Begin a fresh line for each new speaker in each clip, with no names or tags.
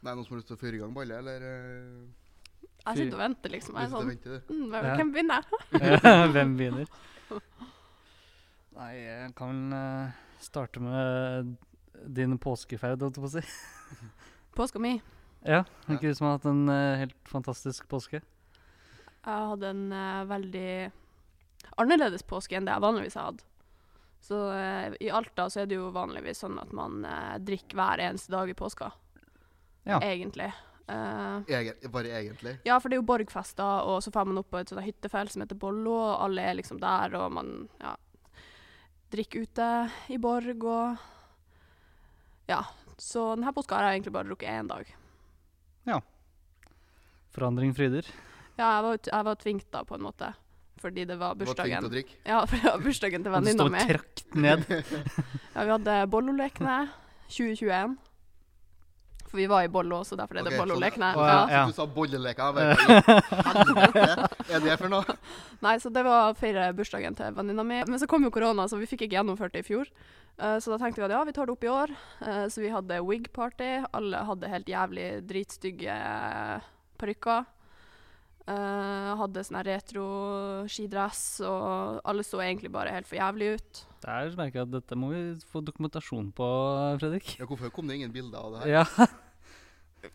det er noen som har lyst til å fyre i gang ballet, eller eh,
Jeg sitter og venter, liksom.
hvis
Jeg
det
er sånn
venter der?
mm, hvem-
Ja.
Hvem begynner?
Hvem begynner? Nei, jeg kan eh, starte med din påskeferd, holdt jeg på å si.
Påska mi.
Ja, det virker ut som jeg har hatt en eh, helt fantastisk påske.
Jeg hadde en eh, veldig annerledes påske enn det jeg vanligvis har hatt. Så eh, i Alta så er det jo vanligvis sånn at man eh, drikker hver eneste dag i påska.
Ja.
Egentlig. Eh,
Egen, bare egentlig.
ja, for det er jo borgfester, og så får man opp på et sånt hyttefelt som heter Bollo, og alle er liksom der, og man ja, drikker ute i borg og Ja. Så denne påska har jeg egentlig bare drukket én dag.
Forandring fryder.
Ja, jeg var, jeg var tvingt da, på en måte. Fordi det var
Du var tvunget til
bursdagen.
å drikke.
Ja, for det var bursdagen til
Og Du
venninna
står
mi.
trakt ned.
Ja, vi hadde Bollolekene 2021. For vi var i Bollo, så derfor er det
Ok,
Bollolekene.
Å,
Ja.
ja.
Så du sa bolleleker. Jeg vet ikke. Helvete, er det for noe?
Nei, så det var å feire bursdagen til venninna mi. Men så kom jo korona, så vi fikk ikke gjennomført det i fjor. Eh, så da tenkte vi at ja, vi tar det opp i år. Eh, så vi hadde wig-party. Alle hadde helt jævlig dritstygge parykker. Eh, hadde sånn her retro skidress, og alle så egentlig bare helt for jævlig ut.
Der merker jeg at dette må vi få dokumentasjon på, Fredrik.
Ja, hvorfor kom det ingen bilder av det her?
Ja.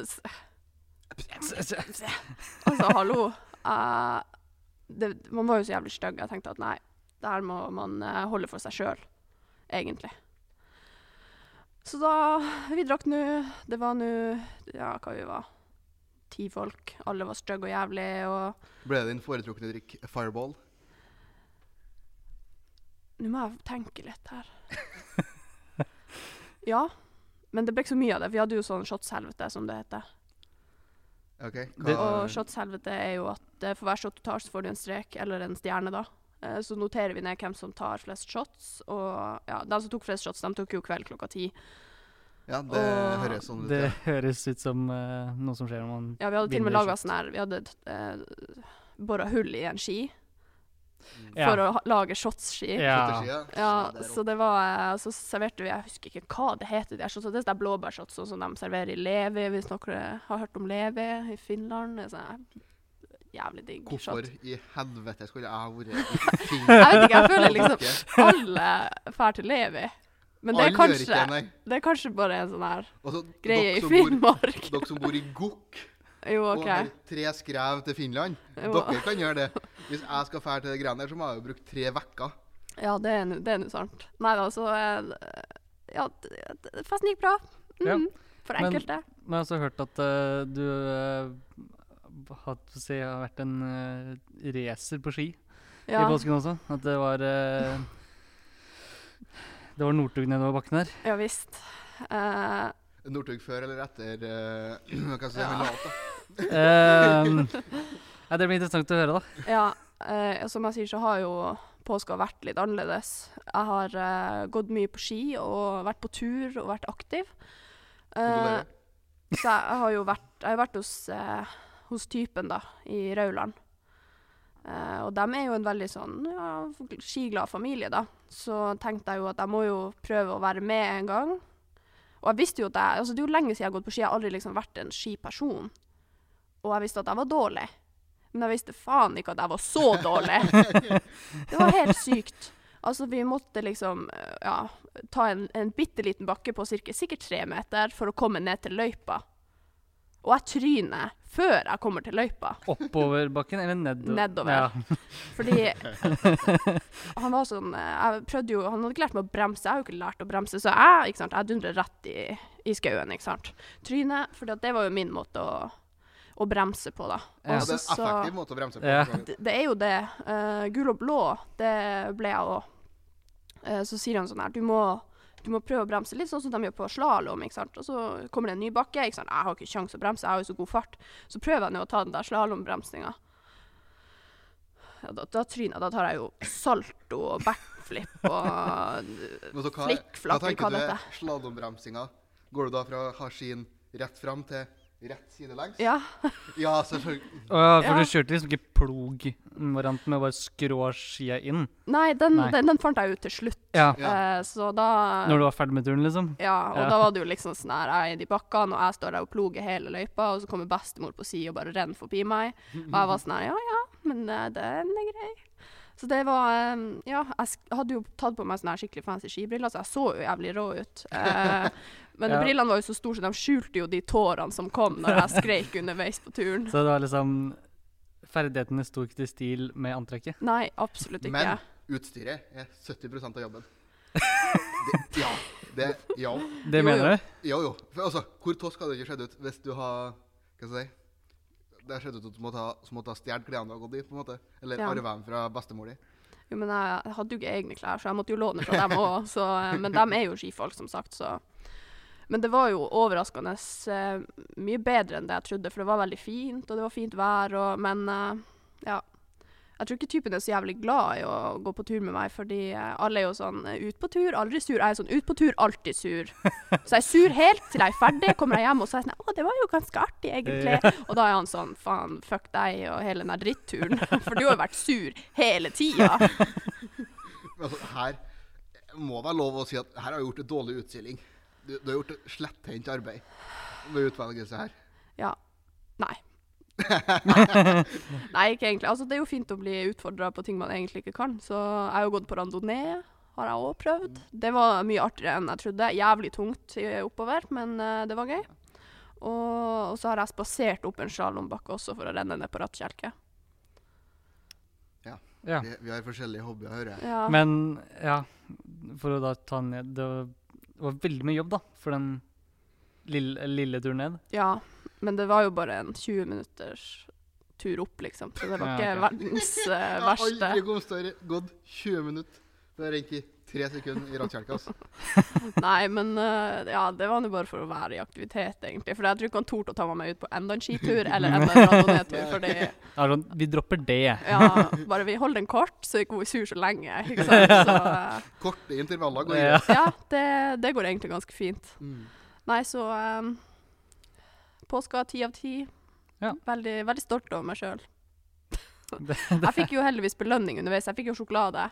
S- Altså, hallo. eh, det, man var jo så jævlig stygg. Jeg tenkte at nei, det her må man eh, holde for seg sjøl, egentlig. Så da Vi drakk nå Det var nå Ja, hva vi var? Ti folk. Alle var stygge og jævlig og
Ble det din foretrukne drikk Fireball?
Nå må jeg tenke litt her. ja. Men det ble ikke så mye av det. Vi hadde jo sånn shotshelvete, som det heter.
OK.
Det-
Og shotshelvete er jo at eh, for hver shot du tar, så får du en strek, eller en stjerne, da. Eh, Så noterer vi ned hvem som tar flest shots, og ja, de som tok flest shots, de tok jo kveld klokka ti.
ja, det
og-
høres sånn ut.
Det
ja.
høres ut som eh, noe som skjer når man
Ja, vi hadde til og med
Vinner
laga
shot.
sånn her Vi hadde uh, bora hull i en ski
Ja.
for å ha, lage shots-ski. Ja.
ja.
Strategi, det er
så det var eh, Så serverte vi Jeg husker ikke hva det heter, de her shotsene. Det er sånn blåbærshots sånn som de serverer i Levi, hvis noen har hørt om Levi i Finland. Det er Sånn, her jævlig digg shot.
Hvorfor i helvete skulle jeg ha vært i
Jeg
Finland?
vet ikke, jeg føler liksom
Ikke.
alle drar til Levi. Men det er,
Alle gjør
kanskje,
ikke det, nei.
det er kanskje bare en sånn her
Altså,
greie
dere
i
som bor-
Finnmark.
Dere som bor i Gokk
Jo,
og
OK.
har tre skrev til Finland,
Jo.
dere kan gjøre det. Hvis jeg skal fære til de greiene der, så må jeg jo bruke tre vekker.
Ja, det er nå- det er nå sant. Nei da, så eh, Ja, d- d- festen gikk bra.
Ja.
Mhm. For
Men-
enkelte.
Men jeg har også hørt at eh, du eh, har, si, har vært en eh, racer på ski
Ja.
i påsken også. At det var eh, Det var Northug nedover bakken her.
ja visst. Eh,
Northug før eller etter eh, Hva skal jeg si?
Ja.
han la opp, da.
Ehm, ja, det blir interessant å høre, da.
ja, eh, som jeg sier, så har jo påska vært litt annerledes. Jeg har eh, gått mye på ski og vært på tur og vært aktiv. Eh,
Kondolerer.
Så jeg, jeg har jo vært, jeg har vært hos, eh, hos typen da, i Rauland. Eh, og de er jo en veldig sånn ja, skiglad familie, da. Så tenkte jeg jo at jeg må jo prøve å være med en gang. Og jeg visste jo at jeg, altså Det er jo lenge siden jeg har gått på ski, jeg har aldri liksom vært en skiperson. Og jeg visste at jeg var dårlig. Men jeg visste faen ikke at jeg var så dårlig. Det var helt sykt. Altså, vi måtte liksom eh, ja, ta en, en bitte liten bakke på cirka, sikkert tre meter for å komme ned til løypa. Og jeg tryner før jeg kommer til løypa.
Oppover bakken eller nedover?
Nedover.
Ja.
Fordi han var sånn eh, Jeg prøvde jo Han hadde ikke lært meg å bremse. Jeg har jo ikke lært å bremse, så jeg, ikke sant, jeg dundrer rett i, i skauen. ikke sant. Trynet. For det var jo min måte å, å bremse på, da. Og
Ja,
Ja, Altså, det er en
så- så-
effektiv måte å bremse på.
Ja.
Det
det, det er jo det. Eh, gul og blå, det ble jeg òg. så sier han sånn her, du må, du må prøve å bremse litt, sånn som de gjør på slalåm. ikke sant? Og så kommer det en ny bakke. ikke sant? Jeg har ikke kjangs å bremse, jeg har jo så god fart. Så prøver jeg nå å ta den der slalåmbremsinga. Ja, da, da tryner jeg. Da tar jeg jo salto og backflip og
Men så hva,
Flikk, flakk,
hva
eller hva
tenker
det
du slalåmbremsinga? Går du da fra å ha skien rett fram til rett sidelengs?
Ja.
Ja, selvfølgelig.
Å ja, for
Ja.
du kjørte liksom ikke plog-varianten med å bare skrå skia inn
Nei, den,
Nei.
Den, den fant jeg ut til slutt.
Ja,
Ja.
Eh, så da
når du var ferdig med turen, liksom?
Ja, og
Ja.
da var det jo liksom sånn her, jeg er i de bakkene, og jeg står der og ploger hele løypa, og så kommer bestemor på sida og bare renner forbi meg. Og jeg var sånn her, ja ja, men eh, den er grei. Så det var eh, Ja, jeg sk- hadde jo tatt på meg sånne her skikkelig fancy skibriller, så jeg så jo jævlig rå ut. Eh, men
Ja.
brillene var jo så store, så de skjulte jo de tårene som kom når jeg skreik underveis på turen.
Så det var liksom Ferdighetene sto ikke til stil med antrekket?
Nei, absolutt ikke.
Men utstyret er 70 av jobben. Det, ja. Det, ja.
Jo,
Det
jo.
mener du?
Jo, jo. For, altså, hvor tåsk hadde det ikke skjedd ut hvis du har Hva skal jeg si? Det har skjedd ut at du måtte ha, så måtte ha stjålet klærne du har gått i, på en måte. Eller
Ja.
arvet dem fra bestemor di.
Jo, men jeg jeg hadde jo ikke egne klær, så jeg måtte jo låne fra dem òg. Men dem er jo skifolk, som sagt, så Men det var jo overraskende eh, mye bedre enn det jeg trodde, for det var veldig fint, og det var fint vær, og Men eh, ja. Jeg tror ikke typen er så jævlig glad i å gå på tur med meg, fordi eh, alle er jo sånn eh, ut på tur, aldri sur. Jeg er sånn ut på tur, alltid sur. Så jeg er sur helt til jeg er ferdig, kommer jeg hjem og så er jeg sånn Å, det var jo ganske artig, egentlig. Og da er han sånn Faen, fuck deg og hele den der dritturen. For du har jo vært sur hele tida.
Men Altså, her må det være lov å si at her har jeg gjort en dårlig utstilling. Du, du har gjort et sletthendt arbeid ved utvelgelse her.
Ja. Nei. Nei, ikke egentlig. Altså, det er jo fint å bli utfordra på ting man egentlig ikke kan. Så jeg har jo gått på randonee, har jeg òg prøvd.
Mm.
Det var mye artigere enn jeg trodde. Jævlig tungt i- oppover, men eh, det var gøy. Og, og så har jeg spasert opp en slalåmbakke også for å renne ned på rattkjelke.
Ja.
Vi, vi har forskjellige hobbyer, hører jeg.
Ja.
Men ja, for å da ta ned Det var- det var veldig mye jobb, da, for den lille, lille turen ned.
ja. Men det var jo bare en 20 minutters tur opp, liksom. Så det var
Ja,
ikke
ok.
verdens eh,
Jeg har
verste.
aldri kommet større, gått 20 minutter. Det har rent i tre sekunder i rattkjelka. Altså.
Nei, men eh, ja, det var nå bare for å være i aktivitet, egentlig. For jeg tror ikke han torde å ta meg med ut på enda en skitur eller enda en randonee-tur. Fordi
Ja, sånn, vi dropper det.
ja, bare vi holder den kort, så ikke hun er sur så lenge. Ikke sant? Så eh,
Korte intervaller går i.
Ja.
ja, det, det går egentlig ganske fint.
Mm.
Nei, så um, påska ti av ti.
Ja.
Veldig, veldig stolt over meg sjøl.
Det-
Jeg fikk jo heldigvis belønning underveis. Jeg fikk jo sjokolade.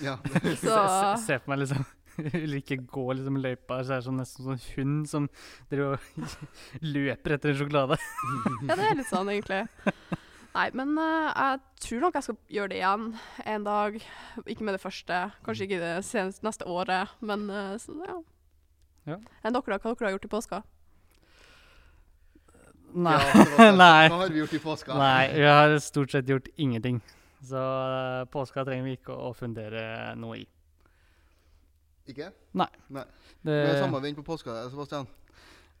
Ja.
Så
Se, se, se på meg liksom Ulrikke går liksom løypa, så er det sånn, nesten sånn hund som driver og løper etter en sjokolade.
Ja, det er litt sånn, egentlig. Nei, men eh, jeg tror nok jeg skal gjøre det igjen en dag. Ikke med det første, kanskje ikke det seneste neste året, men eh, så, ja.
Ja.
Enn dere, da? Hva dere har gjort i påska?
Nei.
Ja, det var det.
Nei.
Hva har vi gjort i påska?
Nei, vi har stort sett gjort ingenting. Så eh, påska trenger vi ikke å, å fundere noe i.
Ikke?
Det,
Men samme vind på påska, eh, Sebastian.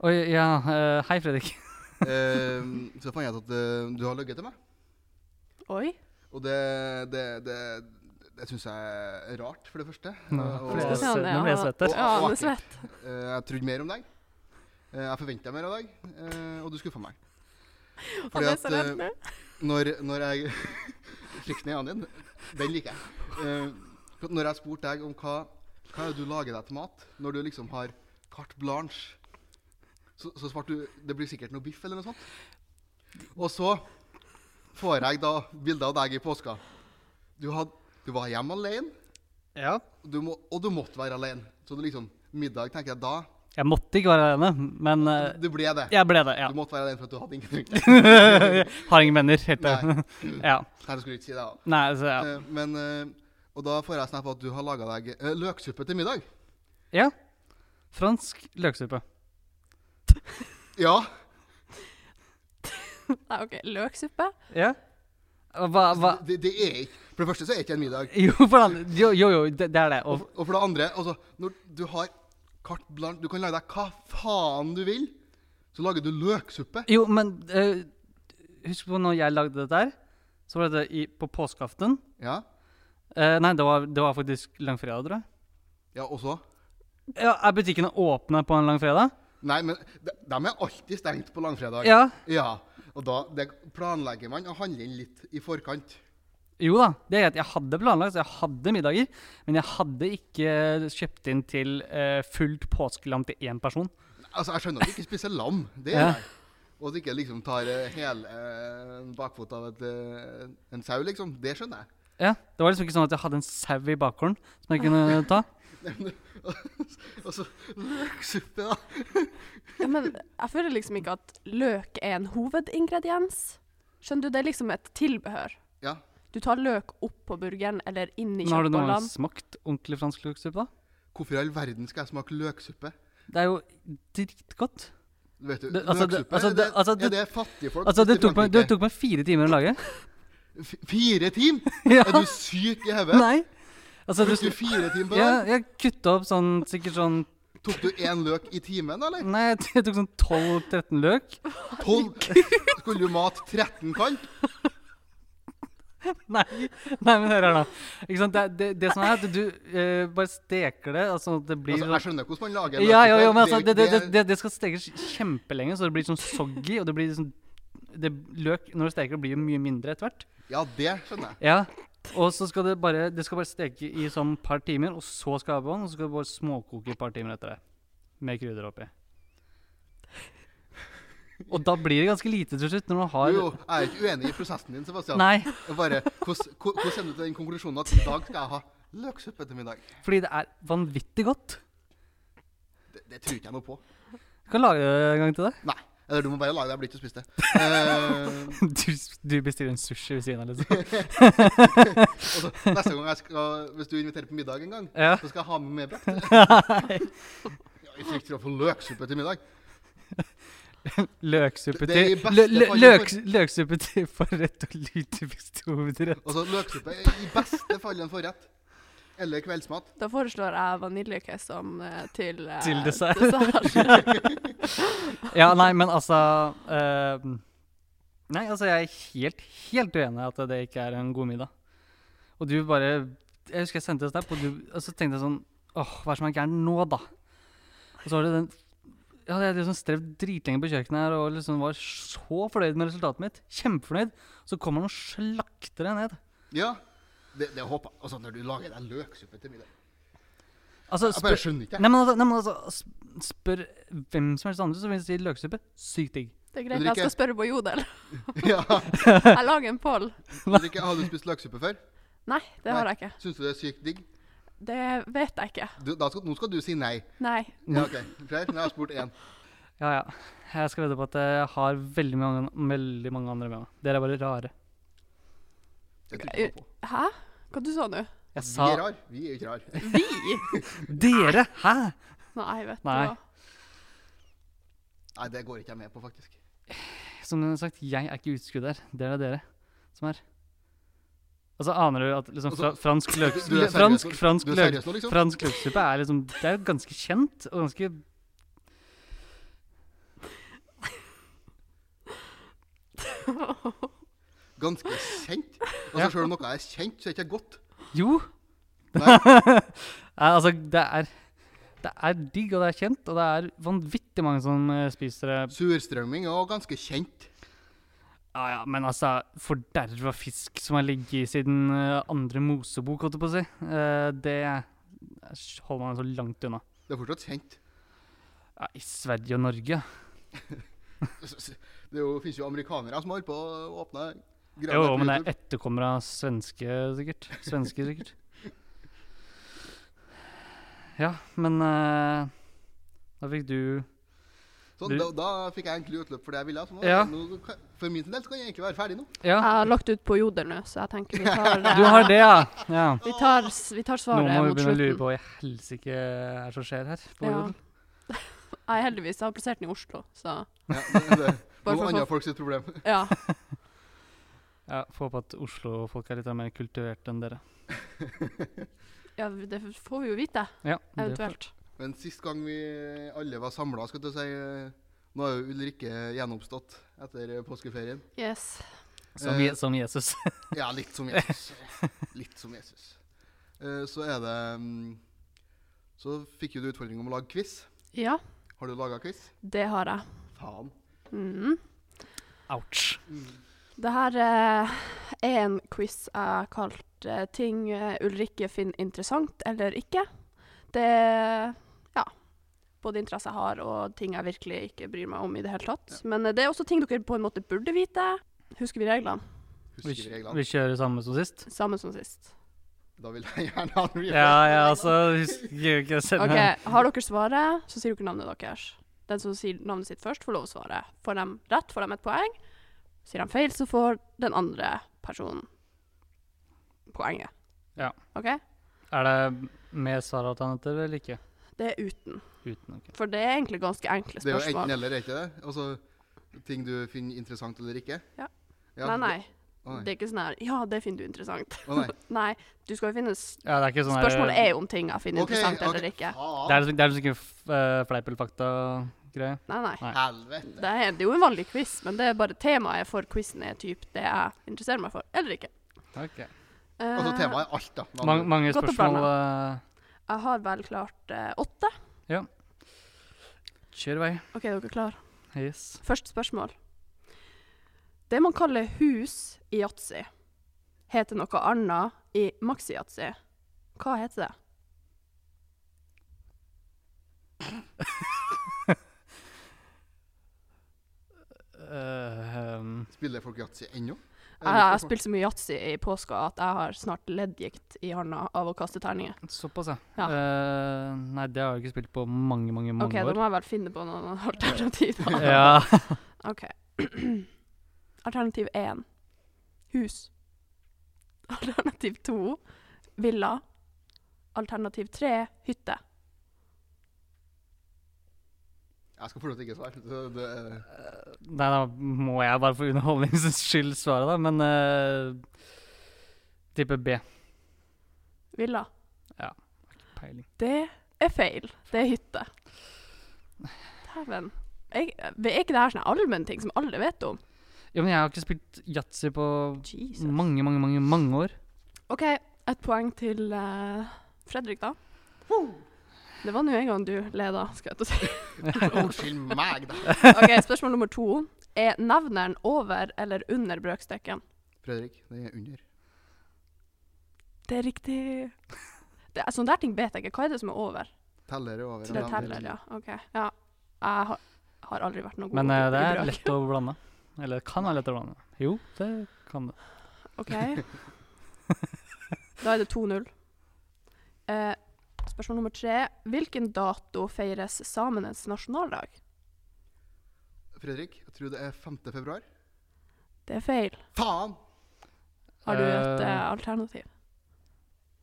Oi, ja, eh, hei, Fredrik.
Eh, så fant jeg ut at eh, du har løyet til meg.
Oi.
Og det, det, det, det syns jeg er rart, for det første.
Nå
Eh, og,
ble
Skal
jeg
vi se,
søt- nå ble jeg
ja.
svett her.
Ja, han er svett.
eh, jeg trodde mer om deg. Eh, jeg forventa mer av deg, eh, og du skuffa meg.
Han er så
eh,
redd nå.
når, når jeg Frykten i øynene dine, den liker jeg. Eh, når jeg spurte deg om hva, hva er det du lager deg til mat, når du liksom har carte blanche, så, så svarte du det blir sikkert noe biff eller noe sånt. Og så får jeg da bilder av deg i påska. Du, had, du var hjemme alene,
Ja.
og du, må, og du måtte være alene. Så det liksom, middag tenker jeg da
Jeg måtte ikke være alene, men eh,
Du ble det.
jeg ble det. ja.
Du måtte være alene for at du hadde ingen rundt deg.
Har ingen venner, helt
Nei.
det. Ja.
Nei, du skulle ikke si det. da.
Nei, så ja.
Eh, men, eh, og da får jeg snap av at du har laga deg eh, løksuppe til middag.
ja. Fransk løksuppe.
Ja.
Nei, OK. Løksuppe?
Ja. Hva, hva?
Det, det er ikke For det første så er ikke det en middag.
Jo, hvordan Jo, jo, jo det, det er det.
Og,
Og,
og for det andre, altså, når du har carte blanche Du kan lage deg hva faen du vil, så lager du løksuppe.
jo, men eh, husk på når jeg lagde dette her, så var det i, på påskeaften.
Ja.
Eh, nei, det var, det var faktisk langfredag, tror jeg.
Ja, og så
Ja, Er butikkene åpne på en langfredag?
Nei, men de, de er alltid stengt på langfredag.
Ja.
Ja, Og da det planlegger man å handle inn litt i forkant.
Jo da, det er greit. Jeg hadde planlagt, så jeg hadde middager. Men jeg hadde ikke kjøpt inn til eh, fullt påskelam til én person.
Altså, jeg skjønner at du ikke spiser lam. Det
Ja.
gjør jeg. Og at du ikke liksom tar eh, hele eh, en bakfot av et, eh, en sau, liksom. Det skjønner jeg.
Ja, Det var liksom ikke sånn at jeg hadde en sau i bakhånden som jeg kunne ta.
Og så løksuppe, da.
Ja, men jeg føler liksom ikke at løk er en hovedingrediens. Skjønner du, det er liksom et tilbehør.
Ja.
Du tar løk opp på burgeren eller inn i
Men har du noen gang
kjøttbollene.
smakt ordentlig fransk løksuppe, da?
Hvorfor i all verden skal jeg smake løksuppe?
Det er jo dritgodt.
Vet du,
Det- altså, det-
løksuppe,
altså,
er
det- altså,
er
det-
det fattige folk?
Altså, det
i
tok, meg, det
Frankrike?
tok meg fire timer å lage.
F- Fire tim?
Ja.
Er du syk i hodet?
Nei. Altså, du,
Brukte du fire timer på det?
jeg, jeg kutta opp sånn sikkert sånn
Tok du én løk i timen, eller?
Nei, jeg t- jeg tok sånn 12-13 løk.
Tolv? Skulle du mate 13 kant?
Nei, nei men hør her, da. Ikke sant? Det, det, det som er, at du eh, bare steker det altså at det blir
Altså, jeg skjønner hvordan man lager
sånn- ja,
løksuppe.
ja, ja, men
er
altså,
jo
det, det,
ikke-
det, det, det skal stekes kjempelenge, så det blir sånn soggy. Og det blir sånn det, Løk når du steker, det blir jo mye mindre etter hvert.
Ja, det skjønner jeg.
Ja. Og så skal det bare det skal bare steke i sånn par timer, og så skal det på ovnen. Og så skal det bare småkoke i par timer etter det. Med krydder oppi. Og da blir det ganske lite til slutt, når man har
Jo, jo, jeg er ikke uenig i prosessen din, Sebastian.
Nei,
Jeg Bare, hvordan hvor- hvordan kommer du til den konklusjonen at i dag skal jeg ha løksuppe til middag?
fordi det er vanvittig godt.
Det, det tror ikke jeg noe på.
Du kan lage det en gang til deg.
Nei. Eller du må bare lage det, jeg blir ikke til å spise det. Eh,
Du, du bestiller en sushi ved siden av, liksom.
og så, neste gang jeg skal, hvis du inviterer på middag en gang,
Ja.
så skal jeg ha med medbrakt. Ja, I frykt for å få løksuppe til middag.
Løksuppe
Det- det er
til
i beste
lø, lø,
fall-
løk, Løksuppe til forrett og lutepistolerett.
Altså løksuppe er i beste fall en forrett. Eller kveldsmat.
Da foreslår jeg vaniljekiss som eh, til, eh,
Til dessert.
dessert.
Ja, nei, men altså eh, Nei, altså, jeg er helt, helt uenig i at det ikke er en god middag. Og du bare Jeg husker jeg sendte en snap, og, du, og så tenkte jeg sånn Åh, hva er det som er gærent nå, da? Og så var det den Jeg hadde liksom strevd dritlenge på kjøkkenet her og liksom var så fornøyd med resultatet mitt. Kjempefornøyd. Så kommer han og slakter deg ned.
Ja, det, det håper jeg. Altså, når du lager deg løksuppe til middag.
Altså,
Jeg bare
spør,
skjønner ikke.
nei, men altså, nei, men altså s- spør hvem som helst andre, så vil de si løksuppe. Sykt digg.
Det er
Men
greit,
drikke-
jeg skal spørre på Jodel.
Ja.
Jeg lager en poll.
Men ikke, har du spist løksuppe før?
Nei, det har jeg ikke.
Syns du det er sykt digg?
Det vet jeg ikke.
Du, da skal, nå skal du si nei.
Nei.
Ja, ok. Flere? Nå har jeg spurt én.
Ja, ja. Jeg skal vedde på at jeg har veldig mange, veldig mange andre med meg. Dere er bare rare.
Det tror jeg ikke noe på.
Hæ? Hva du sa nå?
Jeg
Vi
sa
er rar. Vi er jo ikke rar.
Vi?
Dere! Hæ?
Nei, vet du
Nei.
hva.
Nei, det går ikke jeg med på, faktisk.
Som sagt, jeg er ikke utskudd her. Det er det dere som er. Altså, aner du at liksom, fra,
Altså,
fransk løk...
du er seriøs
Fransk,
nå?
fransk,
Du er
løk,
seriøs nå, liksom?
fransk løksuppe er liksom Det er jo ganske kjent og ganske
Ganske kjent. Altså, Selv om noe er kjent, så er det ikke godt.
Jo!
Nei.
Nei, altså, det er Det er digg, og det er kjent, og det er vanvittig mange som eh, spiser det.
Surstrømming er også ganske kjent.
Ja, ja, men altså, forderva fisk som har ligget i siden eh, andre Mosebok, holdt jeg på å si, eh, det holder man så langt unna.
Det er fortsatt kjent.
Ja, I Sverige og Norge.
S- s- Det er jo, finnes jo amerikanere som holder på å åpne
Jo,
graver på
men det
YouTube.
er etterkommere av svenske, sikkert. Svenske, sikkert. Ja, men eh, da fikk du
Sånn,
du-
da, da fikk jeg egentlig utløp for det jeg ville. Så nå,
Ja.
nå, kan- for min del så kan jeg egentlig være ferdig nå.
Jeg
Ja,
har lagt ut på Jodel nå, så jeg tenker vi tar, eh,
du har det, ja. ja.
Vi tar, s- vi tar
Nå
svaret
må vi
mot
begynne å lure
slutten.
på hva i helsike er som skjer her. På
Ja.
Jodel.
Jeg heldigvis har plassert den i Oslo, så
Ja, det, det,
Bare for
noen
å
andre
få-
folk sitt problem.
ja.
ja, Får håpe at Oslo-folk er litt mer kultiverte enn dere.
ja det får vi jo vite,
Ja, det får-
eventuelt.
Men sist gang vi alle var samla, skal du si eh, Nå er jo Ulrikke gjenoppstått etter eh, påskeferien.
Yes.
som,
Eh,
Je- som Jesus.
Ja, litt som Jesus. Litt som Jesus. Eh, Så er det mm, Så fikk jo du utfordring om å lage quiz.
Ja,
Har du laga quiz?
det har jeg.
Faen.
Mhm.
Ouch.
Det her eh, er en quiz jeg har kalt eh, 'Ting eh, Ulrikke finner interessant eller ikke'. Det Ja. både interesser jeg har, og ting jeg virkelig ikke bryr meg om i det hele tatt. Men eh, det er også ting dere på en måte burde vite. Husker vi reglene?
Vi,
Husker vi
kj-
reglene?
vi kjører samme som sist.
Samme som sist.
Da vil jeg gjerne ha en refresh.
Ja, ja, altså husker jeg ikke selv.
OK, har dere svaret, så sier dere navnet deres. Den som sier navnet sitt først, får lov å svare. Får de rett, får de et poeng. Sier de feil, så får den andre personen poenget.
Ja.
OK?
Er det med svaralternativ eller ikke?
Det er uten.
Uten, ok.
For det er egentlig ganske enkle
Det er jo
spørsmål.
enten eller, er ikke det? Altså ting du finner interessant eller ikke?
Ja.
Ja,
nei, nei.
Å
Det er ikke sånn her Ja, det finner du interessant.
Å nei.
nei, du skal jo finne s-
Ja, det er ikke sånn her-
Spørsmålet er jo om ting jeg finner
Ok,
interessant
ok.
eller ikke.
Det
Faen,
er liksom- det er liksom ikke f- eh, fleip eller fakta-greie.
Nei, nei.
Nei.
helvete.
Det er, det er jo en vanlig quiz, men det er bare temaet for quizen er typ det jeg interesserer meg for, eller ikke.
Ok.
Eh,
Altså temaet er alt, da. med
Mange,
andre ord.
mange
Godt å
spørsmål.
jeg har vel klart eh, åtte.
eh, kjør i vei.
OK, er dere klar?
Yes.
Første spørsmål. Det man kaller hus i yatzy, heter noe annet i maxi-yatzy. Hva heter det?
Eh, um,
Spiller folk yatzy ennå?
Jeg, jeg har spilt så mye yatzy i påska at jeg har snart leddgikt i handa av å kaste terninger.
såpass, ja.
Ja.
Eh, nei, det har jeg ikke spilt på mange, mange, mange
OK, da
år.
må jeg vel finne på noen alternativer.
ja.
OK. Alternativ 1 hus. Alternativ 2 villa. Alternativ 3 hytte.
Jeg skal fortsatt ikke svare. Det, det, er-
Nei, da må jeg bare for underholdningens skyld svare, da, men uh, Tipper B.
Villa.
Peiling.
Det er feil. Det er hytte. Dæven. Jeg- Er ikke det her sånn allmenn ting som alle vet om?
Ja, men jeg har ikke spilt yatzy på
Jesus.
mange, mange, mange mange år.
OK, et poeng til eh, Fredrik, da. Det var nå en gang du leda, skal jeg til å si.
Unnskyld meg, da.
OK, spørsmål nummer to. Er nevneren over eller under brøkstøkken?
Fredrik, den er under.
Det er riktig. Det, er- sånne der ting vet jeg ikke. Hva er det som er over?
Teller er over.
Så det teller, ja. OK. Ja. Jeg har, har aldri vært noe god
Men eh, det
i
er
brøk.
lett å blande. Eller kan være lett å blande. Jo, det kan det.
OK. Da er det 2-0. Eh, spørsmål nummer tre. Hvilken dato feires samenes nasjonaldag?
Fredrik, jeg tror det er 5. februar.
Det er feil.
Faen!
Har du et
Eh,
eh, alternativ?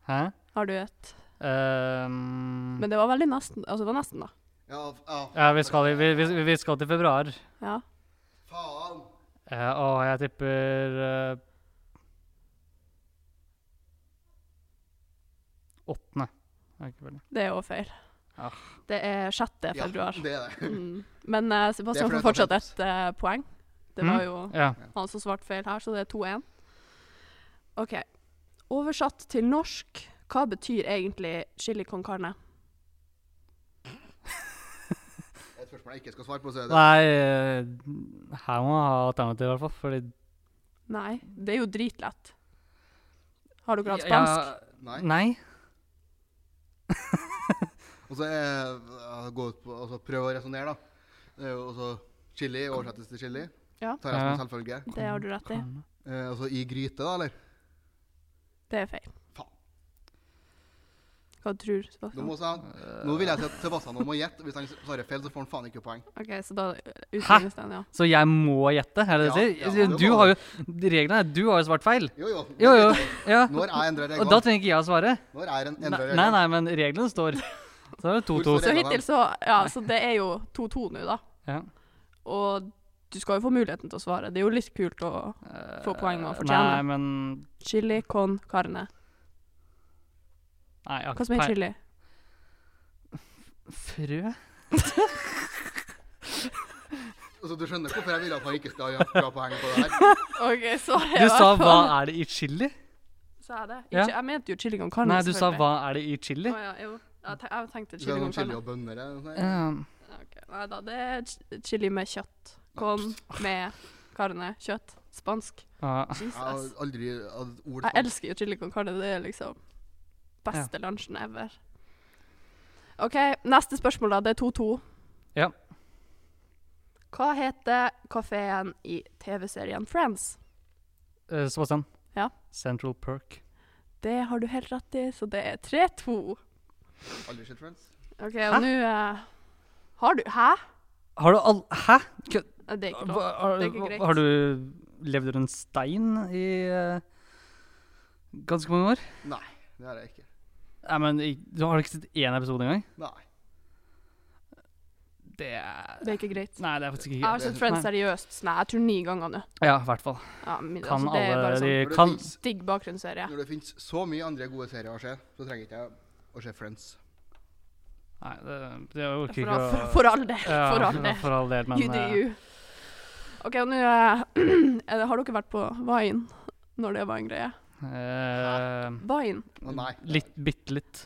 Hæ?
Har du et
mm.
Ehm,
Men det var veldig nesten. Altså, det var nesten, da.
Ja, f- ja,
Eh, ja, vi skal, i- vi, vi, vi skal til februar.
Ja.
faen!
Eh, og jeg tipper eh, Åttende. Jeg har ikke peiling.
Det er jo feil.
Ah.
Det er 6.
Ja,
februar.
det er det.
Mm. Men eh, Sebastian
Det er fordi
får
at
fortsatt
han
et eh, poeng. Det
Mm.
var jo
Ja.
han som svarte feil her, så det er 2-1. OK. Oversatt til norsk, hva betyr egentlig chili con carne?
Et spørsmål jeg ikke skal svare på, så er det
Nei, eh, her må man ha alternativ, i hvert fall. Fordi
Nei, det er jo dritlett. Har dere hatt spansk?
Nei.
Nei.
Og så er jeg går ut på altså, Prøv å resonnere, da. Det er jo også chili oversettes til chili.
Ja.
Tar jeg som en
Ja.
selvfølge.
Det har du rett i.
Kan-
Eh, altså i gryte, da, eller?
Det er feil.
Faen.
Hva tror du,
Nå,
Sebastian?
må han, nå vil jeg si at Sebastian nå må gjette. Hvis han svarer feil, så får han faen ikke poeng.
OK, så da utlignes den, ja.
Så jeg må gjette? Er det det
Ja,
du sier?
ja, det må
du har jo Reglene er du har jo svart feil.
Jo, jo.
Jo, jo. Ja.
Nå har jeg endra
Og da
reglene.
trenger ikke jeg å svare.
Nå har jeg en-
Nei,
endret
nei,
reglene.
nei, men reglene står. Så er det
Hvorfor
2-2.
Så
Reglene.
hittil så Ja, så det er jo 2-2 nå, da.
Ja.
Og du skal jo få muligheten til å svare. Det er jo litt kult å få poeng med å
Eh, Nei,
fortjene.
men
Chili con carne.
Nei, jeg har
Hva som er
peil-
chili?
Frø?
Altså, du skjønner hvorfor jeg ville at han ikke skal ha bra poeng på det her?
OK, svaret
Du sa 'hva er det i chili'?
Sa jeg det?
Ja.
Ikke, jeg mente jo chili con carne.
Nei, du sa
selvfølgelig.
'hva er det i chili'?
Å ja, jo. Jeg, te jeg
Så er
tenkte
det
chili
noen
con
chili
carne.
og bønner eller noe sånt.
Um,
Ok, Nei da, det er ch- chili med kjøtt. Con med carne. Kjøtt. Spansk.
ah,
Jeg har
Jesus.
aldri hatt ord
Jeg elsker jo chili con carne. Det er liksom beste lunsjen ever. OK, neste spørsmål, da. Det er 2-2.
Ja.
Hva heter kafeen i TV-serien Friends?
Eh, Sebastian.
Ja.
Central Perk.
Det har du helt rett i, så det er 3-2.
Aldri sett Friends.
OK,
Hæ?
og nå eh, Har du Hæ?
Har du all... Hæ? Kø-
Nei, Det er ikke lov.
Hva, har,
Det er ikke greit.
har du levd under en stein i eh, ganske mange år?
Nei, det har jeg ikke.
Nei, men i- du har ikke sett én episode engang?
Nei.
Det er
Det er ikke greit.
Nei, det er faktisk
Jeg
ikke
har sett Friends seriøst sånn, jeg tror ni ganger nå.
Ja, i hvert fall.
Ja, min,
Kan
altså, det er
alle
bare
de
sånn
Når det
kan,
finnes-
digg bakgrunnsserie.
Når det finnes så mye andre gode serier å se, så trenger ikke jeg å se Friends.
Nei, det, det orker
For,
ikke
for,
å
for all del.
Ja,
For all del.
for all del, men
You do
eh,
you. OK, og nå eh, er det- Har dere vært på Vine når det var en greie?
eh,
Vine.
Å nei.
Litt, bitte litt.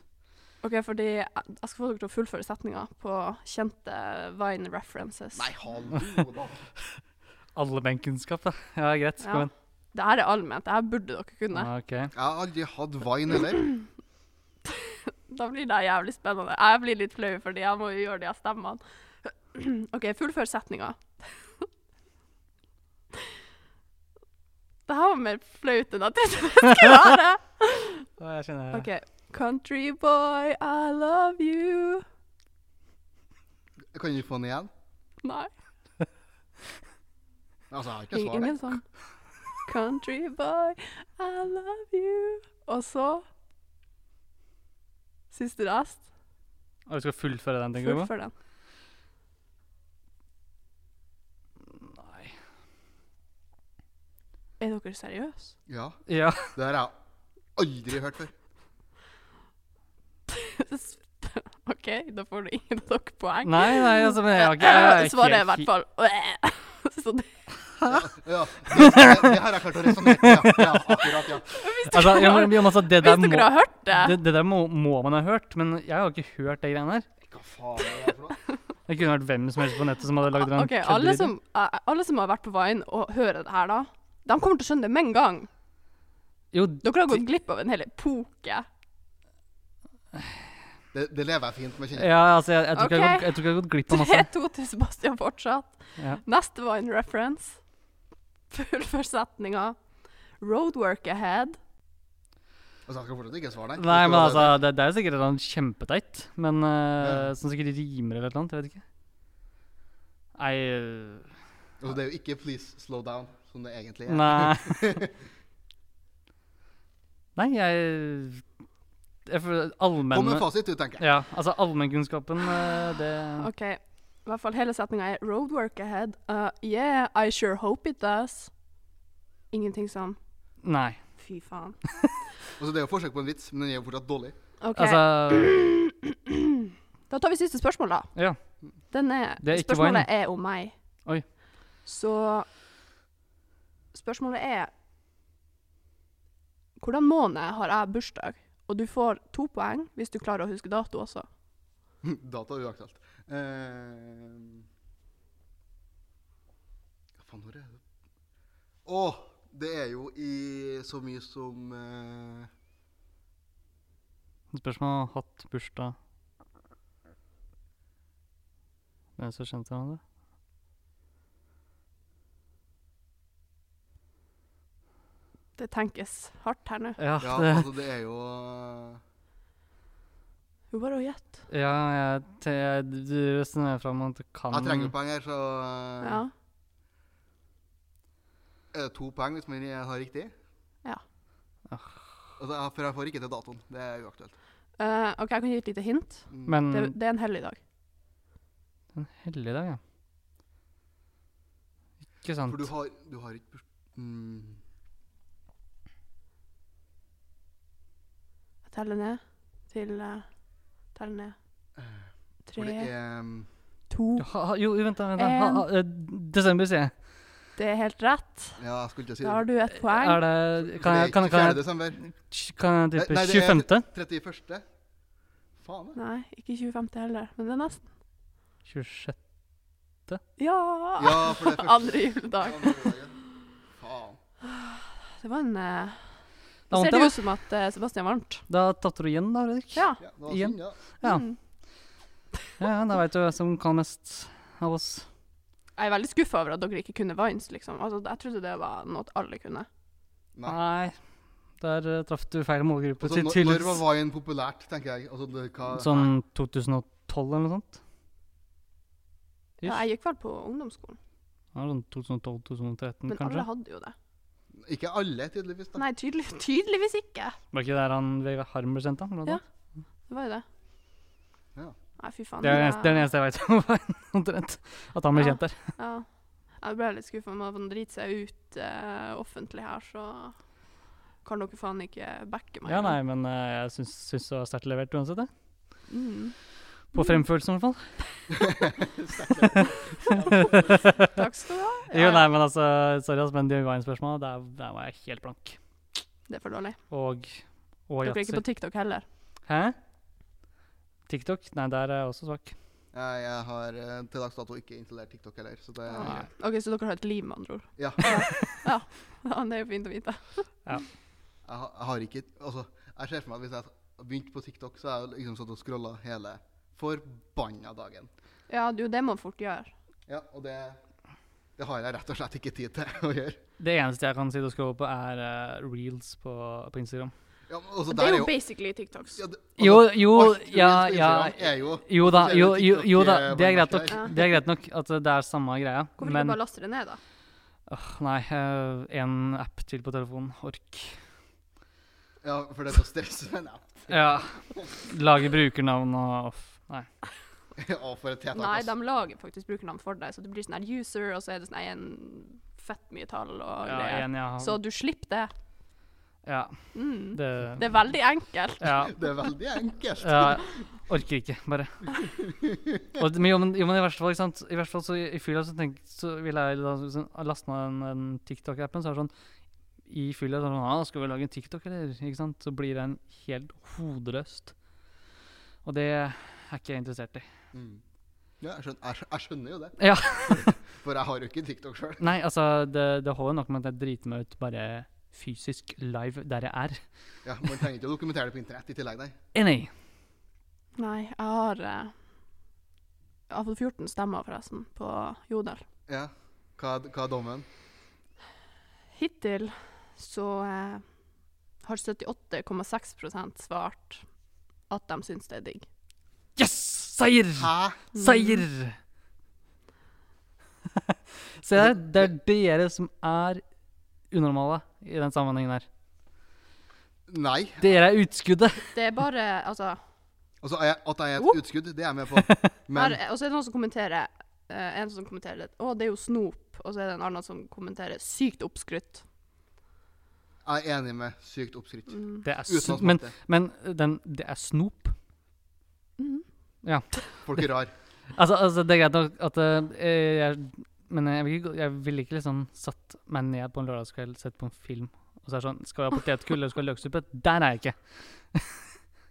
OK, fordi jeg jeg skal få dere til å fullføre setninga på kjente Vine references.
Nei, hallo da.
Alle benkenskap, da. Ja, greit.
Ja.
Kom igjen.
Det her er allment. Det her burde dere kunne.
Ah, ok.
Jeg har aldri hatt Vine heller.
Da blir det jævlig spennende. Jeg blir litt flau, fordi jeg må jo gjøre de her stemmene. OK, fullfør setninga. Det her var mer flaut enn at jeg skulle være.
Å, Jeg kjenner
OK. Country boy, I love you.
Kan vi få den igjen?
Nei,
Altså, jeg har ikke
ing- ingen
svaret.
sånn. Country boy, I love you. Og så Siste rest.
Og du skal fullføre den, tenker du på?
Fullfør den.
Nei.
Er dere seriøse?
Ja,
Ja.
det har jeg aldri hørt før.
OK, da får du ingen av dere poeng.
Nei, nei, altså, men jeg har ikke jeg er ikke
Svaret er i
helt
hvert
fi-
fall Så det,
Ja, det, det, det har jeg klart å resonnere med. Ja, ja, akkurat, ja.
Altså, ja, men, men, altså, det, der
Hvis
må,
dere har hørt det,
det, det der må, må man ha hørt, men jeg har ikke hørt de greiene her.
Hva faen er det her for noe?
Det kunne vært hvem som helst på nettet som hadde lagd den.
Ah, OK, alle som, eh, alle som har vært på Vine og hører det her, da, de kommer til å skjønne det med en gang.
Jo,
Dere har gått glipp av en hel epoke.
Det, det lever jeg fint med, kjenner jeg.
ja, altså, jeg, jeg, tror ikke jeg,
Ok.
har gått- jeg tror ikke jeg har gått glipp av masse.
3-2 til Sebastian fortsatt.
Ja.
Neste var en reference. Fullfør setninga. Roadwork ahead.
Altså, jeg skal fortsatt ikke svare,
Nei, men altså, det, det er jo sikkert noe kjempeteit, men eh, som sikkert rimer eller noe, jeg vet ikke. Nei, øh,
Altså, det er jo ikke 'please slow down', som det egentlig er.
nei. Nei, jeg... Jeg føler
Kom
allmenn...
med fasit, du, tenker jeg.
Ja, altså allmennkunnskapen, eh, det...
OK. I hvert fall hele setninga er roadwork ahead. Uh, yeah, I sure hope it does. Ingenting sånn
Nei,
fy faen.
Altså, det er jo forsøk på en vits, men den er jo fortsatt dårlig.
OK.
altså...
Da tar vi siste spørsmål, da.
Ja.
Den er,
Det er ikke
spørsmålet er om meg.
Oi.
Så spørsmålet er Hvordan måned har jeg bursdag? Og du får to poeng hvis du klarer å huske dato også.
Data er uaktuelt. Eh, Hva faen, når er det? Å, det er jo i så mye som eh,
Spørsmål hatt bursdag Hvem som kjente han det?
Det tenkes hardt her nå.
Ja,
Ja,
Ah, det,
altså, det er jo eh,
Jo, bare å gjette.
ja jeg, te- jeg d- resonnerer fram at det kan
Jeg trenger jo poeng her, så eh,
Ja.
er det to poeng hvis man har riktig.
Ja.
Ah.
Altså, jeg, for jeg får ikke til datoen. Det er uaktuelt.
Eh, OK, jeg kan gi et lite hint.
Mm.
Men
Det, det er en helligdag.
en helligdag, ja. Ikke sant.
For du har, du har ikke burs- mm.
Jeg teller ned til uh, Teller ned.
For Eh, det
Tre,
er um,
to
Ja, ha, jo, vent, da. Vent, da. Ha,
En.
ha, eh, desember, sier jeg.
Det er helt rett.
Ja, jeg skulle ikke si
Da har
det.
du ett poeng.
Eh, Er det Kan jeg, kan,
For det er ikke 4.
kan jeg,
desember.
kan jeg tippe
Nei, det er-
25.?
31. Faen, det.
Nei, ikke 25. heller, men det er nesten.
26.
Ja!
Ja, for det er første.
Andre juledag.
Andre juledagen. Faen.
Det var en eh,
Da
Nå
vant
ser det
jeg,
ut som at eh, Sebastian vant.
da. Da tapte du igjen, da, Fredrik.
Ja.
Ja, det var
Igjen.
synd, ja.
Ja.
Mm.
Ja, ja, da veit du hvem som kan mest av oss.
Jeg er veldig skuffa over at dere ikke kunne Vines, liksom. Altså, jeg trodde det var noe alle kunne.
Nei.
Nei, der eh, traff du feil målgruppe.
Altså,
til
når, når var
tydeligvis.
Vine populært, tenker jeg? Altså, det, hva,
Sånn 2012 eller noe sånt? Ish.
Ja, jeg gikk vel på ungdomsskolen,
Ja, sånn 2012-2013,
men
kanskje?
alle hadde jo det.
Ikke alle, tydeligvis. da.
Nei, tydelig, tydeligvis ikke.
Var ikke der han Vegard Harmer sendte han?
Ja.
Ja,
Det var jo det.
Ja.
Nei, fy faen.
det, er den
jeg-
eneste, det er den eneste jeg veit om Vine, omtrent. At han ble
Ja.
kjent der.
Ja. Jeg ble litt skuffa om at han driter seg ut eh, offentlig her, så kan dere faen ikke backe meg.
Ja, nei, men eh, jeg syns, syns det var sterkt levert uansett, jeg.
Mm.
På fremførelsen, i hvert fall.
Takk skal du ha.
Jo, nei, men altså, sorry, ass, men de Vine-spørsmåla, der, der var jeg helt blank.
Det er for dårlig.
Og og
Dere er ikke
yatzy.
på TikTok heller.
Hæ? TikTok? Nei, der er jeg også svak.
Jeg, jeg har eh, til dags dato ikke installert TikTok heller. Så det,
Nei.
Ok, Ok, Så dere har et liv, med andre ord.
Eh, ja,
Ja, det er jo fint å vite.
jeg, har- jeg har ikke Altså, jeg ser for meg at hvis jeg begynte på TikTok, så er jeg liksom satt og scrolla hele forbanna dagen.
Ja, det er jo det man fort gjør.
Ja, og det, det har jeg rett og slett ikke tid til å gjøre.
Det eneste jeg kan si å scrolle på, er eh, reels på, på Instagram.
Ja, men altså,
Det
der
er jo basically Tiktoks.
ja, det-
Jo,
altså,
jo,
alt du
ja,
vet på
ja.
Instagram er jo eh,
Jo da,
Forskjellige
jo, jo, jo da, det
TikTok-varianter.
er greit nok. Det er greit nok at det er samme greia,
Hvorfor ikke
men
bare laste det ned, da?
Åh, Nei, eh, en app til på telefonen. Ork.
Ja, for det er så stress med en app.
Ja. Lage brukernavn og off. Nei.
Og for et tiltak.
Nei,
ass.
de lager faktisk brukernavn for deg, så det blir sånn her user, og så er det sånn her en fett mye tall og
Ja,
greier.
en jeg har
Så du slipper det.
Ja,
Mm.
det
Det er veldig enkelt.
Ja.
Det er veldig enkelt.
ja orker ikke, bare. Og, det- men, jo, men, jo, men i verste fall, ikke sant? I verste fall så i, i fylla så, tenk, så vil jeg da, så, laste ned den, den TikTok-appen, så er det sånn I fylla så er det sånn ah, Skal vi lage en TikTok, eller? Ikke sant? Så blir den helt hodeløst. Og det er ikke jeg interessert i.
Mm. Ja, jeg, skjønner, jeg, skjø- jeg skjønner jo det.
Ja.
For jeg har jo ikke TikTok sjøl.
Nei, altså, det, det holder nok med at jeg driter meg ut bare fysisk live der jeg er.
Ja, man trenger ikke å dokumentere det på internett i tillegg, nei.
Enig.
Nei, jeg har eh, Jeg har fått 14 stemmer, forresten, på Jodel.
Ja. Hva, hva er dommen?
Hittil så eh, har 78,6 svart at de syns det er digg.
Yes! Seier!
Hæ?
Seier! Se der, det er dere som er unormale i den sammenhengen her.
Nei.
Dere er utskuddet.
Det er bare Altså,
Altså, er jeg, at jeg er
Oh.
et utskudd, det er jeg med på. Men
her- og så er det noen som kommenterer eh, En som kommenterer Å, det er jo snop. Og så er det en annen som kommenterer Sykt oppskrytt.
jeg er enig med sykt oppskrytt.
Mm.
Det er
Uten å
sn- men,
smatte.
men den, det er snop.
Mm.
Folk er rar.
Altså, altså det er greit nok at eh, jeg, Men jeg vil, ikke- jeg vil ikke liksom satt meg ned på en lørdagskveld, sett på en film, og så er det sånn Skal vi ha potetgull, eller skal vi ha løksuppe? Der er jeg ikke.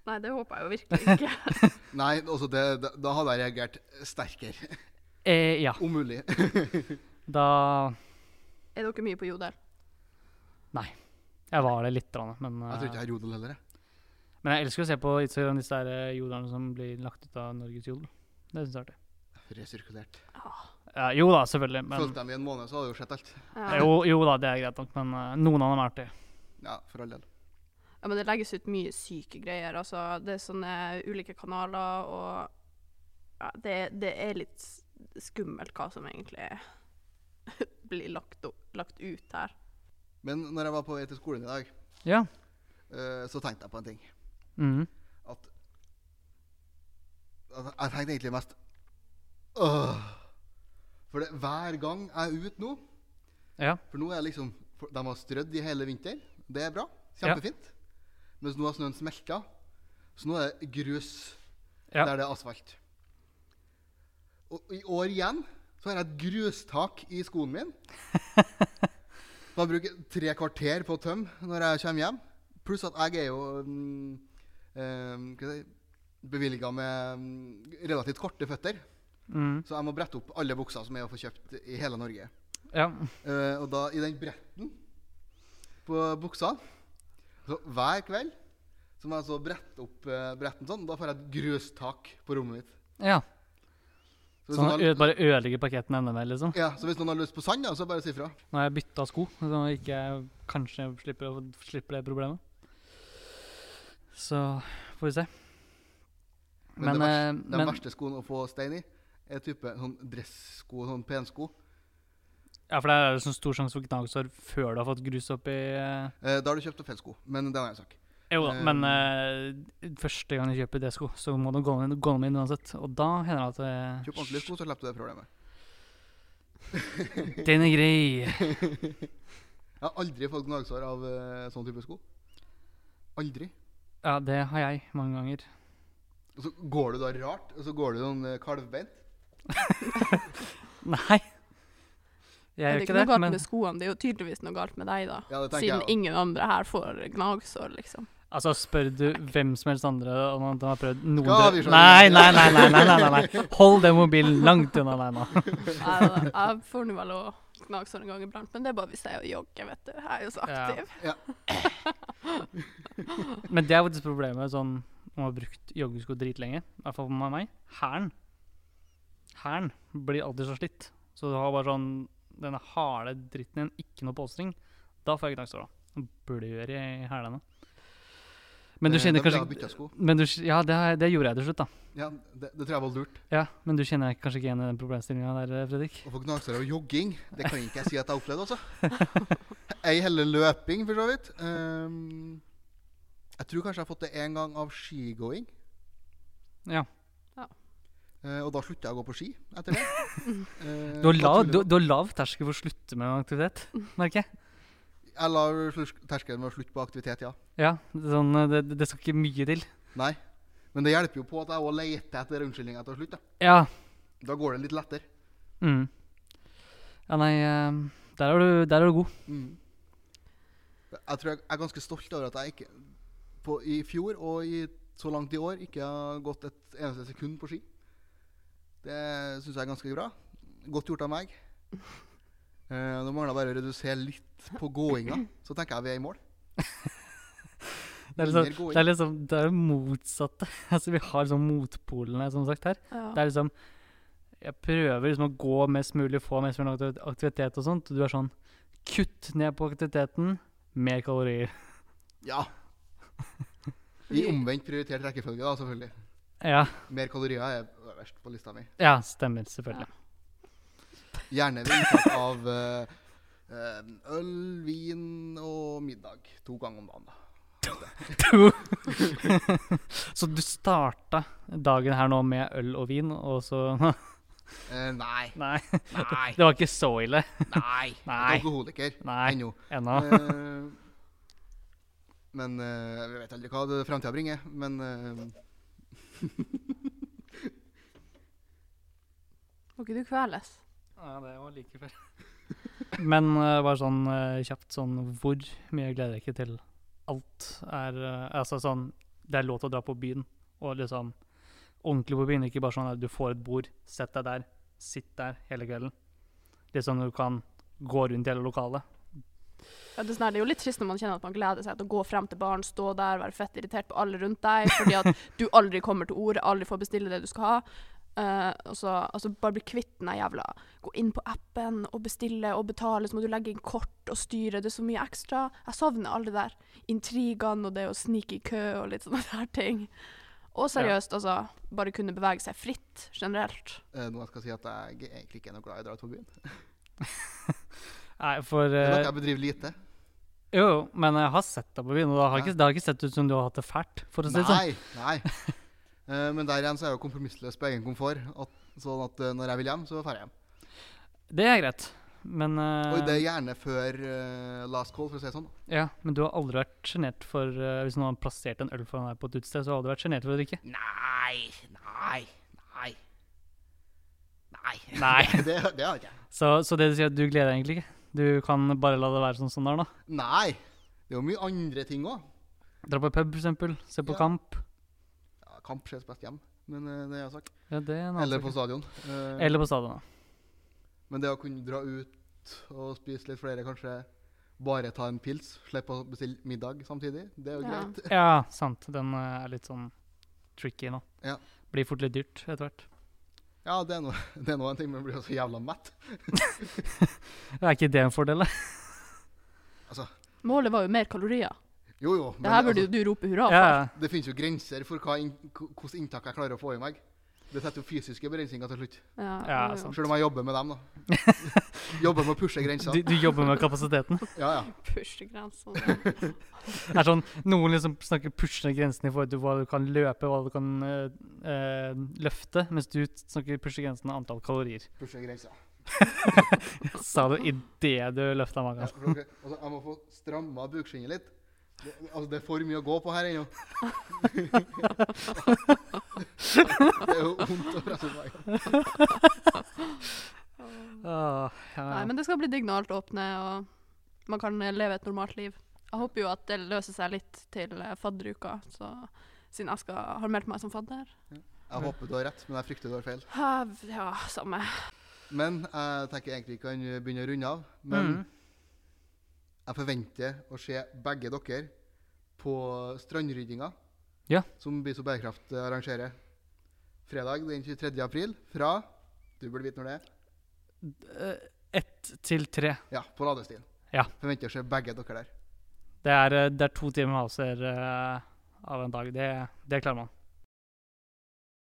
Nei, det håper jeg jo virkelig ikke.
Nei, altså, det, da- da hadde jeg reagert sterkere.
Eh, ja.
Om mulig.
Da
er dere mye på Jodel?
Jeg var det litt, grann, men,
Jeg tror ikke
eh,
jeg er rodel heller, jeg.
men jeg elsker å se på Instagram disse der eh, joderne som blir lagt ut av Norges Jodel. Det syns jeg er artig.
Resirkulert.
Eh, jo da, selvfølgelig. Men,
Fulgte dem i en måned, så hadde jeg jo sett alt.
Ja.
jo, jo da, det er greit nok, men eh, noen av dem er artige.
Ja, for all del.
Ja, men det legges ut mye syke greier. Altså, det er sånne ulike kanaler, og ja, det, det er litt s- skummelt hva som egentlig blir lagt, opp, lagt ut her.
Men når jeg var på vei til skolen i dag,
Ja.
eh, så tenkte jeg på en ting.
Mhm.
At, at Jeg tenkte egentlig mest Åh. For det, hver gang jeg er ute nå
ja.
For nå er liksom for De har strødd i hele vinter. Det er bra. Kjempefint. Mens nå har snøen smelta. Så nå er det grus
Ja.
der det er asfalt. Og i år igjen så har jeg et grustak i skoen min. Man bruker tre kvarter på å tømme når jeg kommer hjem. Pluss at jeg er jo mm, eh, hva skal jeg si, bevilga med mm, relativt korte føtter.
Mhm.
Så jeg må brette opp alle bukser som er å få kjøpt i hele Norge.
ja.
Eh, og da i den bretten på buksa så Hver kveld så må jeg så brette opp eh, bretten sånn. Da får jeg et grustak på rommet mitt.
Ja.
Så hvis,
Sånn
noen
at
har,
ø- bare ødelegger paketten enda mer, liksom.
ja, så hvis noen har lyst på sand, da, så bare si ifra.
Nå har jeg bytta sko, så jeg ikke kanskje slipper, å, slipper det problemet. Så får vi se.
Men,
Men,
det
eh,
verste, de
men-
verste skoene å få stein i, er type sånn dressko, sånn pensko.
Ja, for der er det sånn stor sjanse for gnagsår før du har fått grus oppi eh,
Eh, da har du kjøpt opp feil sko, men det er en annen sak.
Jo da,
Eh,
men eh, første gang jeg kjøper D-sko, så må du gå inn, gå inn uansett. Og da hender det at
Kjøp ordentlige sko, så slipper du det problemet.
eh, Den er grei.
Jeg har aldri fått gnagsår av eh, sånn type sko. Aldri.
Ja, det har jeg mange ganger.
Og så går du da rart, og så går du sånn eh, kalvbeint.
Nei.
Det
Jeg
er
gjør
ikke
ikke
noe
det,
galt
men
med skoene, det er jo tydeligvis noe galt med deg, da.
Ja, det tenker
Siden
jeg.
ingen andre her får gnagsår, liksom.
altså, spør du hvem som helst andre om han har prøvd noen
Skal vi
dø-
se-
nei, nei, nei, nei, nei, nei, nei, nei. Hold den mobilen langt unna deg nå.
Nei, da, jeg får nå vel også gnagsår en gang iblant, men det er bare hvis jeg er og jogger, vet du. Jeg er jo så
Ja.
aktiv.
Men det er faktisk problemet sånn når man har brukt joggesko dritlenge. I hvert fall med meg. Hælen. Hælen blir alltid så slitt. Så du har bare sånn denne harde dritten igjen, ikke noe polstring. Da får jeg gnagsår, da. Blør i hælene. Men du
Eh,
kjenner
da vil jeg
kanskje
ha byttet sko.
men du, Ja, det, har jeg- det gjorde jeg til slutt, da.
Ja, det, det tror jeg var lurt.
Ja, Men du kjenner kanskje ikke igjen i den problemstillinga der, eh, Fredrik?
Å få gnagsår av jogging, det kan ikke jeg si at jeg har opplevd, altså. Ei heller løping, for så vidt. Ehm, jeg tror kanskje jeg har fått det én gang av skigåing.
Ja.
Ja.
Eh, og da slutta jeg å gå på ski etter det. Eh,
Du har lav,
naturlig
du,
nok.
du har lav terskel for å slutte med en aktivitet, merker jeg.
Jeg la slurs- terskelen ved å slutte på aktivitet, ja.
Ja, sånn, det, det- det skal ikke mye til.
Nei. Men det hjelper jo på at jeg òg leter etter unnskyldninger til slutt. Da.
Ja,
da går det litt lettere.
Mm. Ja, nei, eh, der er du, der er du god.
Mm. Jeg tror jeg er ganske stolt over at jeg ikke på, i fjor og i, så langt i år ikke har gått et eneste sekund på ski. Det syns jeg er ganske bra. Godt gjort av meg. Eh, Nå mangler jeg bare å redusere litt på gåinga, så tenker jeg vi er i mål.
Det
Mer
er liksom
gåing.
det er liksom, det er jo motsatte. Altså, vi har liksom motpolene, som sagt, her. Det
Ja.
er liksom Jeg prøver liksom å gå mest mulig, få mest mulig aktiv- aktivitet og sånt. Og du er sånn Kutt ned på aktiviteten, mer kalorier.
Ja. I omvendt prioritert rekkefølge, da, selvfølgelig.
Ja,
Mer kalorier er øverst på lista mi.
ja stemmer, selvfølgelig.
Gjerne ved inntak av eh, eh, øl, vin og middag to ganger om dagen. da.
Så du starta dagen her nå med øl og vin, og så
Eh, nei.
Nei,
Nei.
det var ikke så ille.
Nei.
Nei.
Ikke alkoholiker
Nei,
ennå.
ennå.
Eh, men eh, vi vet aldri hva det framtida bringer. Men eh,
Må ikke du kveles?
Ja, det var like før. Men eh, bare sånn eh, kjapt sånn Hvor mye gleder jeg ikke til alt er eh, Altså sånn Det er lov til å dra på byen, og liksom ordentlig på byen. Ikke bare sånn at du får et bord, sett deg der, sitt der hele kvelden. Litt sånn du kan gå rundt i hele lokalet.
Ja, det, er sånn her, det er jo litt trist når man kjenner at man gleder seg til å gå frem til baren, stå der, være fett irritert på alle rundt deg, fordi at du aldri kommer til orde, aldri får bestille det du skal ha. Eh, og så altså bare bli kvitt den der jævla Gå inn på appen og bestille og betale, så må du legge inn kort og styre, det er så mye ekstra. Jeg savner alle de der intrigene og det å snike i kø og litt sånne der ting. Og seriøst, altså, bare kunne bevege seg fritt generelt.
eh, noe jeg skal si at jeg egentlig ikke er noe glad i å dra ut på byen.
Nei, for
Det er noe
eh,
jeg bedriver lite.
Jo, jo, men jeg har sett deg på byen, og det har ikke, det har ikke sett ut som du har hatt det fælt, for å si det sånn.
Nei. nei. Eh, men der igjen så er jeg jo kompromissløs på egen komfort. At, sånn at eh, når jeg vil hjem, så drar jeg hjem.
Det er greit, men eh,
Og det er gjerne før eh, last call, for å si det sånn.
Ja, men du har aldri vært sjenert for eh, Hvis noen har plassert en øl foran deg på et utested, så har du aldri vært sjenert for å drikke?
Nei. Nei. Nei. Nei.
Nei.
det, det har jeg ikke.
Så, så det du sier, at du gleder deg egentlig ikke? Du kan bare la det være sånn som det er, da?
Nei. Det er jo mye andre ting òg.
Dra på pub, for eksempel. Se på
Ja.
kamp.
Ja, kamp ses best hjem, men eh, det er jeg sagt.
Ja, det er en annen
Eller på
sak.
stadion. Eh,
Eller på stadion. da.
Men det å kunne dra ut og spise litt flere, kanskje bare ta en pils, slippe å bestille middag samtidig, det er jo
Ja.
greit.
Ja, sant. Den eh, er litt sånn tricky nå.
Ja.
Blir fort litt dyrt etter hvert.
Ja, det er nå det er nå en ting, men jeg blir jo så jævla mett.
Er ikke det en fordel? da?
Målet var jo mer kalorier.
Jo, jo.
Det her burde jo
altså,
du rope hurra
Ja,
for.
ja.
det finnes jo grenser for hva inn, hvordan inntak jeg klarer å få i meg. Det setter jo fysiske begrensninger til slutt.
Ja,
Ja,
jo, jo.
sant.
Selv om jeg jobber med dem, da. jobber med å pushe grenser.
Du, du jobber med kapasiteten.
Ja, ja.
Pushegrensa.
Det er sånn, Noen liksom snakker pushende grensen i forhold til hva du kan løpe, hva du kan eh, eh, løfte, mens du snakker pushe grensen av antall kalorier.
Pushe grenser.
Sa du idet du løfta
Ja,
magen.
for dere- altså, jeg må få stramma bukskinnet litt. Det, altså, det er for mye å gå på her ennå. det er jo vondt å presse meg.
Åh, ja,
Nei,
ja.
men det skal bli digg når alt åpner og man kan eh, leve et normalt liv. Jeg håper jo at det løser seg litt til eh, fadderuka, så siden jeg skal, har meldt meg som fadder.
Jeg håper du har rett, men jeg frykter du har feil.
Ja, ja, samme.
Men jeg tenker egentlig vi kan begynne å runde av. Men
Mm.
jeg forventer å se begge dere på strandryddinga
Ja.
som Biso Bærekraft arrangerer fredag den 23. april fra Du burde vite når det er.
Eh, Ett til tre.
Ja, på Ladestien.
Ja.
Forventer å se begge dere der.
Det er, eh, det er to timer hauser eh, av en dag. Det, det klarer man.